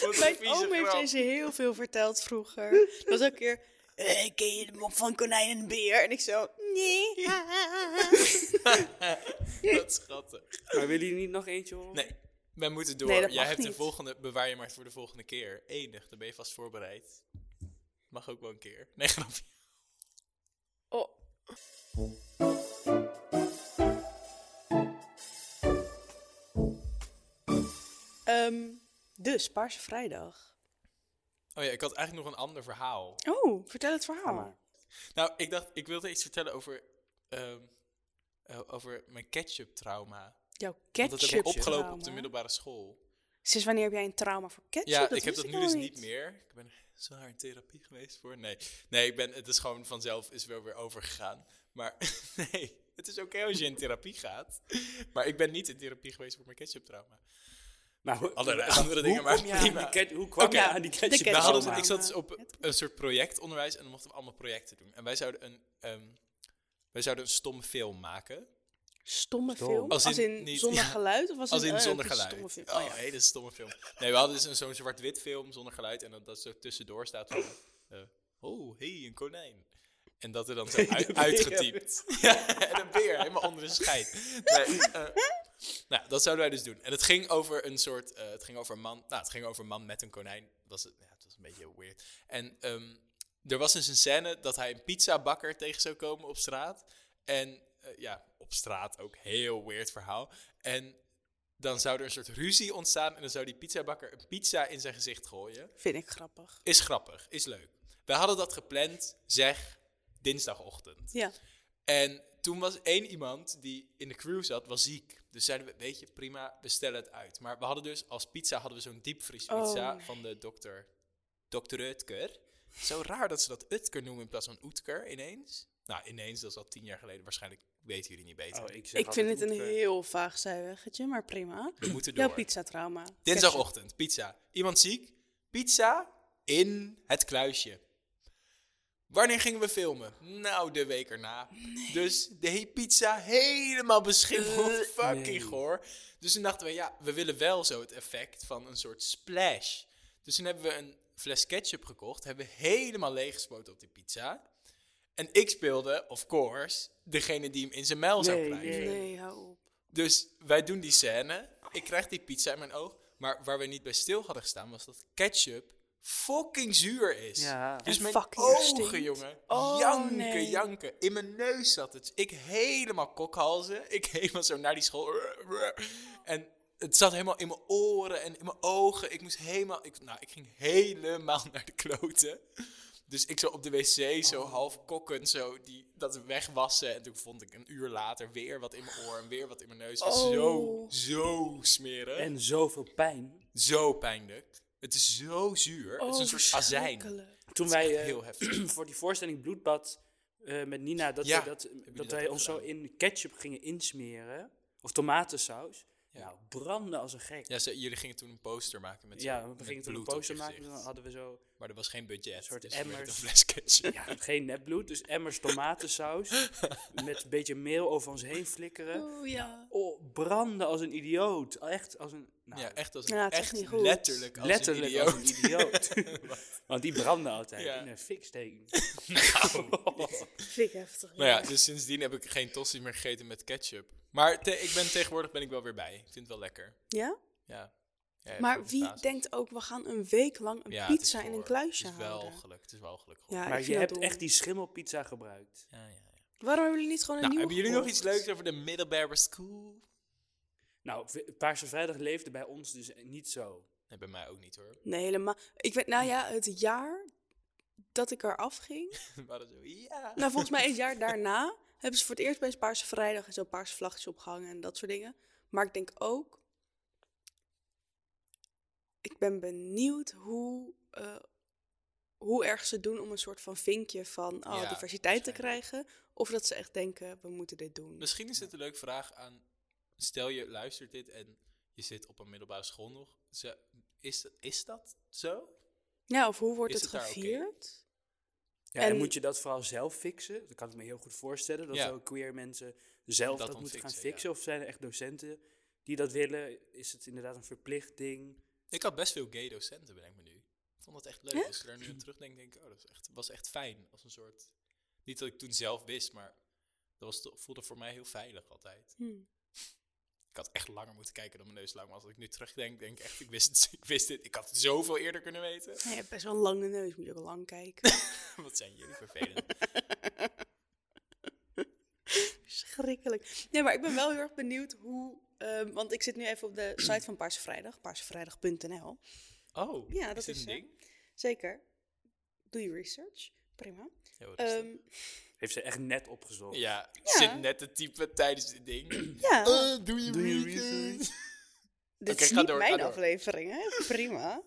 Speaker 2: Wat een
Speaker 3: Mijn
Speaker 2: vieze
Speaker 3: oom heeft
Speaker 2: grap.
Speaker 3: deze heel veel verteld vroeger. Dat was ook een keer... eh, ken je de mop van konijn en beer? En ik zo... Nee.
Speaker 2: Dat is schattig.
Speaker 1: maar willen jullie niet nog eentje horen?
Speaker 2: Nee, wij moeten door.
Speaker 3: Nee, dat
Speaker 2: Jij
Speaker 3: mag
Speaker 2: hebt de
Speaker 3: niet.
Speaker 2: volgende, bewaar je maar voor de volgende keer. Enig, dan ben je vast voorbereid. Mag ook wel een keer. Nee, grapje.
Speaker 3: Oh. Ehm, dus, Paarse Vrijdag.
Speaker 2: Oh ja, ik had eigenlijk nog een ander verhaal.
Speaker 3: Oh, vertel het
Speaker 1: Ga
Speaker 3: verhaal.
Speaker 1: maar.
Speaker 2: Nou, ik dacht, ik wilde iets vertellen over, ehm, eh, over mijn ketchup-trauma.
Speaker 3: Jouw
Speaker 2: Want dat heb ik
Speaker 3: ketchup
Speaker 2: opgelopen op de middelbare school.
Speaker 3: Sinds wanneer heb jij een trauma voor ketchup?
Speaker 2: Ja, ik heb
Speaker 3: wist
Speaker 2: dat nu dus
Speaker 3: nooit.
Speaker 2: niet meer. Ik ben er zo hard in therapie geweest voor. Nee, nee ik ben, het is gewoon vanzelf is wel weer overgegaan. Maar nee, het is oké als je in therapie gaat. Maar ik ben niet in therapie geweest voor mijn ketchup-trauma.
Speaker 1: Maar hoe,
Speaker 2: Andere-
Speaker 1: wacht,
Speaker 2: andere dingen,
Speaker 1: hoe
Speaker 2: maar
Speaker 1: kom je aan
Speaker 2: prima.
Speaker 1: die ket- hoe kwam
Speaker 2: Oké.
Speaker 1: je aan die ketchup?
Speaker 3: ketchup.
Speaker 2: We hadden,
Speaker 3: zomaar.
Speaker 2: ik zat dus op een soort projectonderwijs en dan mochten we allemaal projecten doen. En wij zouden een, ehm, wij zouden een stom film maken.
Speaker 3: Stomme
Speaker 1: Stom.
Speaker 3: film?
Speaker 2: Als
Speaker 3: Als
Speaker 2: in
Speaker 3: in,
Speaker 2: niet-
Speaker 3: zonder
Speaker 2: ja.
Speaker 3: geluid? Of als,
Speaker 2: Als in
Speaker 3: eh,
Speaker 2: zonder
Speaker 3: een
Speaker 2: geluid.
Speaker 3: stomme film?
Speaker 2: Oh, hele stomme film. Nee, we hadden dus een- zo'n zwart-wit film zonder geluid. En dat, dat zo tussendoor staat van... eh, oh, hé, hey, een konijn. En dat er dan zo uit,
Speaker 1: beer.
Speaker 2: uitgetypt. ja, en een beer, helemaal onder een scheid. Nee, eh, Nou, ja, dat zouden wij dus doen. En het ging over een soort, eh, het ging over een man, nou, het ging over een man met een konijn. Dat was, het- ja, het was een beetje weird. En ehm, er was dus een scène dat hij een pizzabakker tegen zou komen op straat. En eh, ja, op straat ook heel weird verhaal. En dan zou er een soort ruzie ontstaan en dan zou die pizzabakker een pizza in zijn gezicht gooien.
Speaker 3: Vind ik grappig.
Speaker 2: Is grappig, is leuk. We hadden dat gepland, zeg, dinsdagochtend.
Speaker 3: Ja.
Speaker 2: En toen was één iemand die in de crew zat, was ziek. Dus zeiden we, weet je, prima, we stellen het uit. Maar we hadden dus als pizza hadden we zo'n diepvriespizza
Speaker 3: Oh, nee.
Speaker 2: van de dokter, dokter Utker. Zo raar dat ze dat Utker noemen in plaats van Utker ineens. Nou, ineens, dat is al tien jaar geleden. Waarschijnlijk weten jullie niet beter.
Speaker 1: Oh, ik,
Speaker 3: Ik vind het een heel vaag zijweggetje, maar prima.
Speaker 2: We moeten door.
Speaker 3: Jouw pizzatrauma.
Speaker 2: Dinsdagochtend, pizza. Iemand ziek, pizza in het kluisje. Wanneer gingen we filmen? Nou, de week erna. Dus de he- pizza helemaal beschimmeld. Fucking
Speaker 1: Eh, nee.
Speaker 2: goor. Dus toen dachten we, ja, we willen wel zo het effect van een soort splash. Dus toen hebben we een fles ketchup gekocht. Hebben we helemaal leeggespoten op die pizza. En ik speelde, of course, degene die hem in zijn mijl zou
Speaker 1: Nee,
Speaker 2: krijgen.
Speaker 1: nee.
Speaker 3: Nee, hou op.
Speaker 2: Dus wij doen die scène. Ik krijg die pizza in mijn oog. Maar waar we niet bij stil hadden gestaan, was dat ketchup fucking zuur is.
Speaker 1: Ja.
Speaker 2: Dus
Speaker 3: En
Speaker 2: mijn
Speaker 3: fucking
Speaker 2: ogen,
Speaker 3: stinkt.
Speaker 2: jongen.
Speaker 3: Oh,
Speaker 2: janken,
Speaker 3: nee.
Speaker 2: janken. In mijn neus zat het. Ik helemaal kokhalzen. Ik helemaal zo naar die school. En het zat helemaal in mijn oren en in mijn ogen. Ik moest helemaal... Ik, nou, ik ging helemaal naar de kloten. Dus ik zo op de wc,
Speaker 3: Oh.
Speaker 2: zo half kokkend, zo die, dat wegwassen. En toen vond ik een uur later weer wat in mijn oor en weer wat in mijn neus. Het is Zo,
Speaker 3: Oh.
Speaker 2: zo smerig.
Speaker 1: En zoveel pijn.
Speaker 2: zo pijnlijk. Het is zo zuur. het is een soort azijn.
Speaker 3: Oh, verschrikkelijk.
Speaker 1: Toen
Speaker 2: Het is
Speaker 1: wij
Speaker 2: echt
Speaker 1: eh,
Speaker 2: heel heftig.
Speaker 1: voor die voorstelling Bloedbad eh, met Nina, dat,
Speaker 2: Ja,
Speaker 1: we dat,
Speaker 2: jullie
Speaker 1: dat
Speaker 2: dat
Speaker 1: wij
Speaker 2: ook
Speaker 1: ons zo
Speaker 2: gedaan?
Speaker 1: in ketchup gingen insmeren. Of tomatensaus. Nou, branden als een gek.
Speaker 2: Ja, ze- jullie gingen toen een poster maken met
Speaker 1: Ja,
Speaker 2: zo'n-
Speaker 1: we
Speaker 2: met
Speaker 1: gingen toen een
Speaker 2: bloed op
Speaker 1: poster
Speaker 2: je
Speaker 1: maken.
Speaker 2: gezicht.
Speaker 1: Dan hadden we zo
Speaker 2: Maar er was geen budget.
Speaker 1: soort
Speaker 2: dus we werden
Speaker 1: emmers.
Speaker 2: Een fles ketchup.
Speaker 1: ja, geen nepbloed, dus emmers tomatensaus. met een beetje meel over ons heen flikkeren.
Speaker 3: Oh ja.
Speaker 1: Oh, branden als een idioot. Echt als een. Nou,
Speaker 2: ja, echt als een,
Speaker 3: Ja, het is echt
Speaker 2: echt
Speaker 3: niet goed.
Speaker 2: letterlijk als
Speaker 1: letterlijk
Speaker 2: een idioot.
Speaker 1: als een idioot. Want die branden altijd.
Speaker 2: Ja.
Speaker 1: In een fiksteek.
Speaker 3: Vind ik heftig.
Speaker 2: Nou ja, dus sindsdien heb ik geen tossies meer gegeten met ketchup. Maar te- ik ben, tegenwoordig ben ik wel weer bij. Ik vind het wel lekker.
Speaker 3: Ja?
Speaker 2: Ja. Ja,
Speaker 3: Maar
Speaker 2: goed,
Speaker 3: wie
Speaker 2: basis.
Speaker 3: denkt ook, we gaan een week lang een
Speaker 2: Ja, het is
Speaker 3: pizza in een
Speaker 2: goor.
Speaker 3: kluisje
Speaker 2: Het is wel
Speaker 3: houden?
Speaker 2: geluk, het is wel gelukkig.
Speaker 3: Ja,
Speaker 1: maar
Speaker 3: ik
Speaker 1: je
Speaker 3: vind dat
Speaker 1: hebt
Speaker 3: dom.
Speaker 1: echt die schimmelpizza gebruikt.
Speaker 2: Ja, ja, ja.
Speaker 3: Waarom hebben jullie niet gewoon een
Speaker 2: Nou,
Speaker 3: nieuwe
Speaker 2: hebben jullie nog
Speaker 3: gekocht?
Speaker 2: iets leuks over de middelbare school?
Speaker 1: Nou, v- Paarse Vrijdag leefde bij ons dus niet zo.
Speaker 2: Nee, bij mij ook niet hoor.
Speaker 3: Nee, helemaal. Ik weet, nou ja, het jaar dat ik eraf ging.
Speaker 2: We hadden zo, ja.
Speaker 3: Nou, volgens mij het jaar daarna hebben ze voor het eerst bij Paarse Vrijdag zo'n paarse vlaggetjes opgehangen en dat soort dingen. Maar ik denk ook. Ik ben benieuwd hoe, eh, hoe erg ze doen om een soort van vinkje van oh,
Speaker 2: Ja,
Speaker 3: diversiteit te
Speaker 2: waarschijnlijk. Dus
Speaker 3: krijgen. Of dat ze echt denken, we moeten dit doen.
Speaker 2: Misschien is het een leuke vraag aan... Stel je luistert dit en je zit op een middelbare school nog. Ze- is, is dat zo?
Speaker 3: ja, of hoe wordt
Speaker 2: Is
Speaker 3: het,
Speaker 2: het daar oké?
Speaker 3: gevierd?
Speaker 1: Ja, en,
Speaker 3: En-
Speaker 1: moet je dat vooral zelf fixen? Dat kan ik me heel goed voorstellen. Dat
Speaker 2: Ja.
Speaker 1: zo queer mensen zelf
Speaker 2: Dat
Speaker 1: dat,
Speaker 2: dan
Speaker 1: moeten gaan
Speaker 2: fixen, ja.
Speaker 1: fixen. Of zijn er echt docenten die dat willen? Is het inderdaad een verplicht ding?
Speaker 2: Ik had best veel gay docenten, bedenk me nu. Ik vond dat echt leuk.
Speaker 3: Ja?
Speaker 2: Als ik daar nu aan terugdenk, denk ik, oh, dat was echt, was echt fijn. Als een soort... Niet dat ik toen zelf wist, maar dat was, to- voelde voor mij heel veilig altijd.
Speaker 3: Hm.
Speaker 2: Ik had echt langer moeten kijken dan mijn neus lang was. Als ik nu terugdenk, denk ik echt, ik wist, het, ik wist dit. Ik had het zoveel eerder kunnen weten.
Speaker 3: Nee, je hebt best wel een lange neus, moet je ook lang kijken.
Speaker 2: Wat zijn jullie vervelend.
Speaker 3: Schrikkelijk. Nee, maar ik ben wel heel erg benieuwd hoe. ehm, want ik zit nu even op de site van Paarse Vrijdag, paarsevrijdag.nl.
Speaker 2: Oh,
Speaker 3: Ja, dat
Speaker 2: dit
Speaker 3: is
Speaker 2: een
Speaker 3: zo.
Speaker 2: ding?
Speaker 3: Zeker. Doe je research. Prima.
Speaker 2: Ja, wat is dat?
Speaker 3: Ehm,
Speaker 1: Heeft ze echt net opgezocht.
Speaker 2: ja, ik
Speaker 3: ja.
Speaker 2: zit net te typen tijdens dit ding.
Speaker 3: ja,
Speaker 2: Eh, doe je
Speaker 1: Doe je
Speaker 2: research?
Speaker 3: dit
Speaker 2: oké,
Speaker 3: is
Speaker 2: ga
Speaker 3: niet
Speaker 2: door, ga
Speaker 3: mijn
Speaker 2: door.
Speaker 3: aflevering, hè? Prima.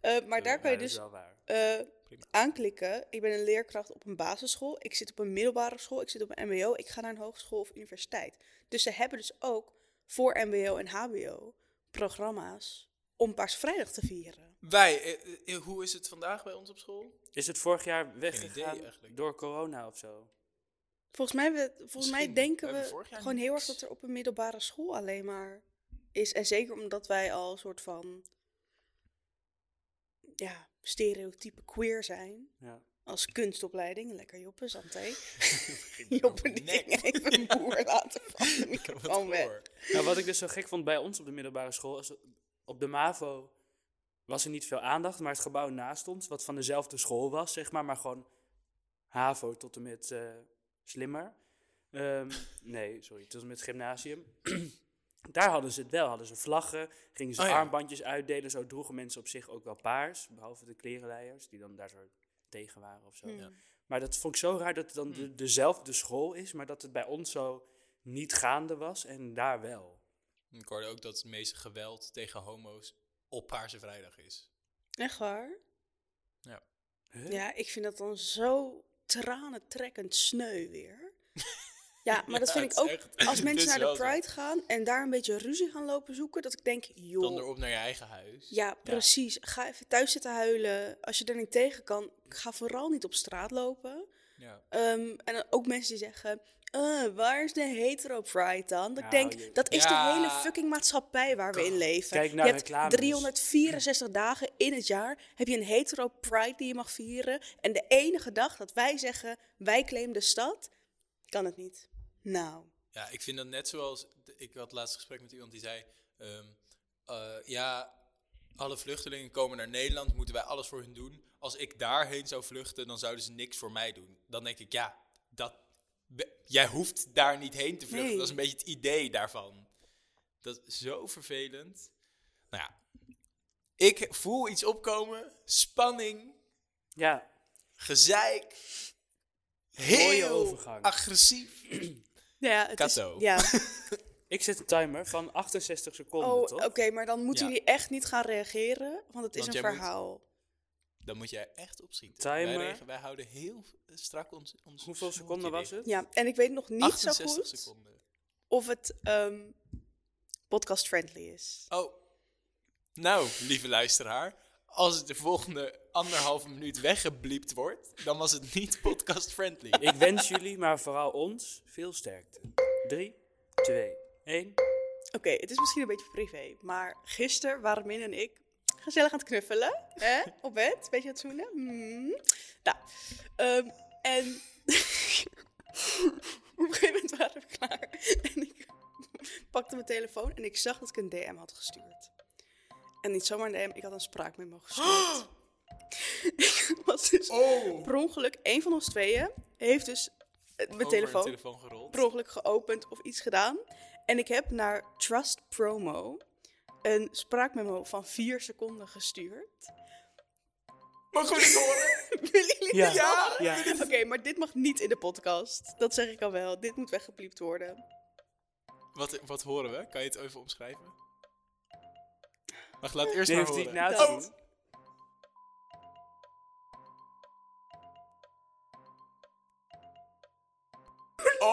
Speaker 3: Eh, maar daar kan je
Speaker 1: dat is
Speaker 3: dus
Speaker 1: wel waar.
Speaker 3: eh,
Speaker 2: Prima.
Speaker 3: aanklikken. Ik ben een leerkracht op een basisschool. Ik zit op een middelbare school. Ik zit op een MBO. Ik ga naar een hogeschool of universiteit. Dus ze hebben dus ook voor MBO en HBO programma's om Paarse Vrijdag te vieren.
Speaker 2: Wij, eh, eh, hoe is het vandaag bij ons op school?
Speaker 1: Is het vorig jaar
Speaker 2: idee
Speaker 1: weggegaan
Speaker 2: eigenlijk.
Speaker 1: door corona of zo?
Speaker 3: Volgens mij, we, volgens mij
Speaker 2: Misschien. We
Speaker 3: denken
Speaker 2: hebben
Speaker 3: we
Speaker 2: vorig jaar
Speaker 3: gewoon heel erg dat
Speaker 2: niks.
Speaker 3: er op een middelbare school alleen maar is. En zeker omdat wij al een soort van ja, stereotype queer zijn.
Speaker 1: Ja.
Speaker 3: Als kunstopleiding. Lekker joppen, Santé.
Speaker 2: Ik ben
Speaker 3: Joppen
Speaker 2: over
Speaker 3: die
Speaker 2: mijn nek.
Speaker 3: ging even een boer laten vallen.
Speaker 2: Wat
Speaker 3: Microfoon weg.
Speaker 2: goor.
Speaker 1: Nou, wat ik dus zo gek vond bij ons op de middelbare school, is op de MAVO was er niet veel aandacht, maar het gebouw naast ons, wat van dezelfde school was, zeg maar, maar gewoon HAVO tot en met eh, slimmer. Ehm, nee, sorry, tot en met gymnasium. Daar hadden ze het wel, hadden ze vlaggen, gingen ze
Speaker 2: Oh ja.
Speaker 1: armbandjes uitdelen, zo droegen mensen op zich ook wel paars, behalve de klerenleiers, die dan daar zo tegen waren of zo.
Speaker 3: Hmm.
Speaker 2: Ja. Hmm.
Speaker 1: Maar dat vond ik zo raar dat het dan de, dezelfde school is, maar dat het bij ons zo niet gaande was en daar wel.
Speaker 2: Ik hoorde ook dat het meeste geweld tegen homo's op Paarse Vrijdag is.
Speaker 3: Echt waar?
Speaker 2: Ja.
Speaker 1: Huh?
Speaker 3: Ja, ik vind dat dan zo tranentrekkend sneu weer. Ja, maar dat
Speaker 2: Ja,
Speaker 3: vind ik
Speaker 2: het
Speaker 3: ook
Speaker 2: is echt-
Speaker 3: als
Speaker 2: het is
Speaker 3: mensen naar de
Speaker 2: wel zo.
Speaker 3: Pride gaan en daar een beetje ruzie gaan lopen zoeken, dat ik denk,
Speaker 2: Dan
Speaker 3: joh.
Speaker 2: erop naar je eigen huis.
Speaker 3: Ja, precies. Ga even thuis zitten huilen. Als je er niet tegen kan, ga vooral niet op straat lopen.
Speaker 2: Ja.
Speaker 3: Ehm, en dan ook mensen die zeggen, eh, waar is de hetero pride dan? Dat ik
Speaker 1: Nou,
Speaker 3: denk,
Speaker 1: je-
Speaker 3: dat is
Speaker 2: Ja.
Speaker 3: de hele fucking maatschappij waar we in leven.
Speaker 1: Kijk naar
Speaker 3: je hebt
Speaker 1: reclames.
Speaker 2: dus-
Speaker 3: 364 dagen in het jaar heb je een hetero pride die je mag vieren. En de enige dag dat wij zeggen, wij claimen de stad, kan het niet. Nou,
Speaker 2: Ja, ik vind dat net zoals. Ik had laatst een gesprek met iemand die zei: ehm, eh, Ja, alle vluchtelingen komen naar Nederland, moeten wij alles voor hun doen. Als ik daarheen zou vluchten, dan zouden ze niks voor mij doen. Dan denk ik, ja, dat, we- jij hoeft daar niet heen te vluchten.
Speaker 3: Nee.
Speaker 2: Dat is een beetje het idee daarvan. Dat is zo vervelend. Nou ja, ik voel iets opkomen: spanning,
Speaker 1: Ja,
Speaker 2: gezeik. Heel
Speaker 1: overgang.
Speaker 2: agressief.
Speaker 3: ja, het
Speaker 2: Kato.
Speaker 3: is... Ja.
Speaker 1: ik zet een timer van 68 seconden,
Speaker 3: Oh,
Speaker 1: toch?
Speaker 3: oké, maar dan moeten
Speaker 2: Ja.
Speaker 3: jullie echt niet gaan reageren, want het is
Speaker 2: Want
Speaker 3: een
Speaker 2: jij moet-
Speaker 3: verhaal.
Speaker 2: Dan moet jij echt opschieten.
Speaker 1: Timer.
Speaker 2: Wij, regen- wij houden heel eh, strak ons, ons
Speaker 1: Hoeveel
Speaker 2: snoertje
Speaker 1: seconden was
Speaker 2: dicht.
Speaker 1: het?
Speaker 3: Ja, en ik weet nog niet zo
Speaker 2: 68
Speaker 3: goed
Speaker 2: seconden.
Speaker 3: of het ehm, podcast-friendly is.
Speaker 2: Oh. Nou, lieve luisteraar. Als de volgende anderhalve minuut weggebliept wordt, dan was het niet podcast-friendly.
Speaker 1: Ik wens jullie, maar vooral ons, veel sterkte. 3, 2, 1.
Speaker 3: Oké, het is misschien een beetje privé, maar gisteren waren Min en ik gezellig aan het knuffelen. Hè? Op bed, een beetje aan het zoenen. Mm. Nou, ehm, en op een gegeven moment waren we klaar. En ik pakte mijn telefoon en ik zag dat ik een DM had gestuurd. En niet zomaar een DM, ik had een spraakmemo gestuurd. ik was dus
Speaker 2: Oh.
Speaker 3: per ongeluk, één van ons tweeën heeft dus eh, mijn
Speaker 2: Over
Speaker 3: telefoon
Speaker 2: de telefoon gerold.
Speaker 3: per ongeluk geopend of iets gedaan. En ik heb naar Trust Promo een spraakmemo van vier seconden gestuurd.
Speaker 2: Mogen we dit horen?
Speaker 3: Willen jullie
Speaker 1: Ja.
Speaker 3: dit horen?
Speaker 1: Ja.
Speaker 3: Oké, maar dit mag niet in de podcast. Dat zeg ik al wel. Dit moet weggepliept worden.
Speaker 2: Wat, wat horen we? Kan je het even omschrijven? Wacht, laat eerst
Speaker 1: Nee,
Speaker 2: maar
Speaker 1: heeft hij
Speaker 2: horen. Oh.
Speaker 1: het na te
Speaker 3: Dat.
Speaker 1: doen?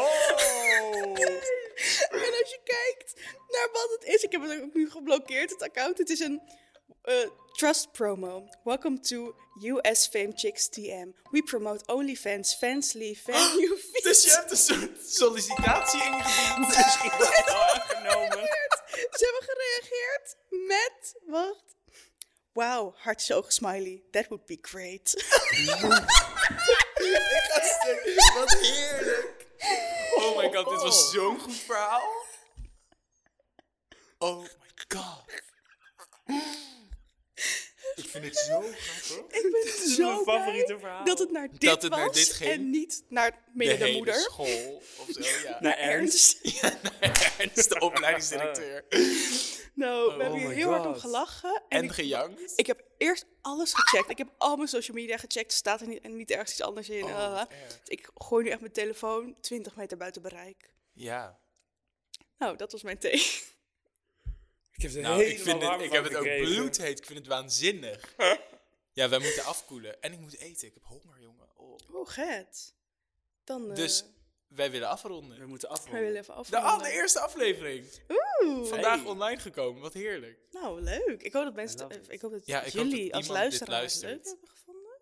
Speaker 2: Oh!
Speaker 3: En als je kijkt naar wat het is, ik heb het ook nu geblokkeerd, het account. Het is een eh, trust promo. Welcome to US Fame Chicks TM. We promote OnlyFans, fansly, fan you
Speaker 2: Dus je hebt een soort sollicitatie Oh. ingediend.
Speaker 1: Genomen.
Speaker 3: Ze hebben gereageerd met, wacht. Wauw, hartjes ogen smiley. That would be great.
Speaker 2: Wat heerlijk. Oh my god, dit was zo'n goed verhaal. Oh my god. Ik vind het zo grappig.
Speaker 3: Ik ben zo
Speaker 1: mijn
Speaker 3: blij
Speaker 1: favoriete verhaal.
Speaker 3: dat het naar dit
Speaker 2: Dat het
Speaker 3: was
Speaker 2: naar dit ging.
Speaker 3: en niet naar
Speaker 2: De
Speaker 3: mede de,
Speaker 2: hele
Speaker 3: moeder.
Speaker 2: school of zo, ja.
Speaker 1: Naar Ernst.
Speaker 2: Ernst, de opleidingsdirecteur.
Speaker 3: Nou, we hebben hier
Speaker 1: Oh my
Speaker 3: heel hard om
Speaker 1: God.
Speaker 3: gelachen. En,
Speaker 2: En
Speaker 3: ik,
Speaker 2: gejankt.
Speaker 3: ik heb eerst alles gecheckt. Ik heb al mijn social media gecheckt. Er staat er niet, en niet ergens iets anders
Speaker 1: Oh,
Speaker 3: in. Eh,
Speaker 2: wat erg.
Speaker 3: ik gooi nu echt mijn telefoon 20 meter buiten bereik.
Speaker 2: Ja.
Speaker 3: Nou, dat was mijn thee.
Speaker 1: Ik heb, er
Speaker 2: Nou, ik,
Speaker 1: helemaal
Speaker 2: vind het,
Speaker 1: warm
Speaker 2: ik
Speaker 1: van
Speaker 2: heb het ook
Speaker 1: gekregen.
Speaker 2: bloedheet. Ik vind het waanzinnig. Ja, wij moeten afkoelen. En ik moet eten. Ik heb honger, jongen. Oh.
Speaker 3: Oh, Gert. Dan eh
Speaker 2: Dus wij willen
Speaker 1: We
Speaker 2: afronden.
Speaker 1: moeten
Speaker 3: wij willen
Speaker 1: afronden.
Speaker 3: even
Speaker 2: De
Speaker 3: afronden.
Speaker 2: allereerste aflevering.
Speaker 3: Oeh.
Speaker 2: Vandaag
Speaker 1: Hey.
Speaker 2: online gekomen, wat heerlijk.
Speaker 3: Nou, leuk. Ik hoop dat, mensen,
Speaker 1: love it.
Speaker 3: ik hoop dat
Speaker 2: Ja, ik hoop dat
Speaker 3: jullie
Speaker 2: iemand
Speaker 3: als
Speaker 2: dit
Speaker 3: luisteraars het
Speaker 2: luistert.
Speaker 3: leuk hebben gevonden.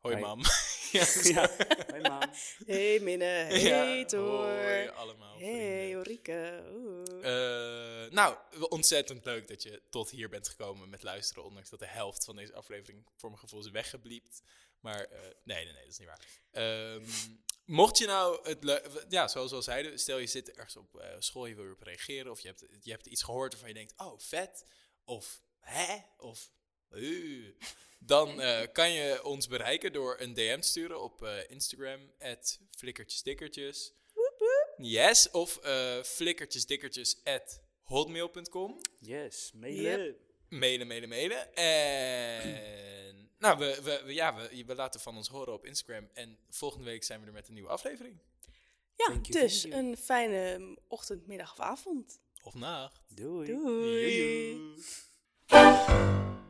Speaker 2: Hoi,
Speaker 1: Hoi.
Speaker 2: mam. ja, zo.
Speaker 1: Ja, hoi mam.
Speaker 3: Hey Minne, hey
Speaker 2: Ja, Hoi
Speaker 3: Toor.
Speaker 2: allemaal.
Speaker 3: Hey
Speaker 2: vrienden.
Speaker 3: Ulrike. Oeh.
Speaker 2: Eh, nou, wel ontzettend leuk dat je tot hier bent gekomen met luisteren. Ondanks dat de helft van deze aflevering voor mijn gevoel is weggebliept. Maar eh, nee, nee, nee, dat is niet waar. Ehm, mocht je nou het leu- ja, zoals we al zeiden, stel je zit ergens op eh, school, je wil erop reageren. Of je hebt, je hebt iets gehoord waarvan je denkt, oh vet. Of hè? Of eh. Dan eh, kan je ons bereiken door een DM te sturen op eh, Instagram, flikkertjesdikkertjes.
Speaker 3: Woep, woep.
Speaker 2: Yes, of eh flikkertjesdikkertjes at hotmail.com.
Speaker 1: Yes, mailen.
Speaker 2: Mailen, mailen, mailen. En nou, we, we, we- ja, we, we laten van ons horen op Instagram. En volgende week zijn we er met een nieuwe aflevering.
Speaker 3: Ja,
Speaker 1: Thank you,
Speaker 3: dus
Speaker 1: thank you.
Speaker 3: een fijne ochtend, middag of avond.
Speaker 2: Of nacht.
Speaker 1: Doei.
Speaker 3: Doei.
Speaker 2: Joejoe.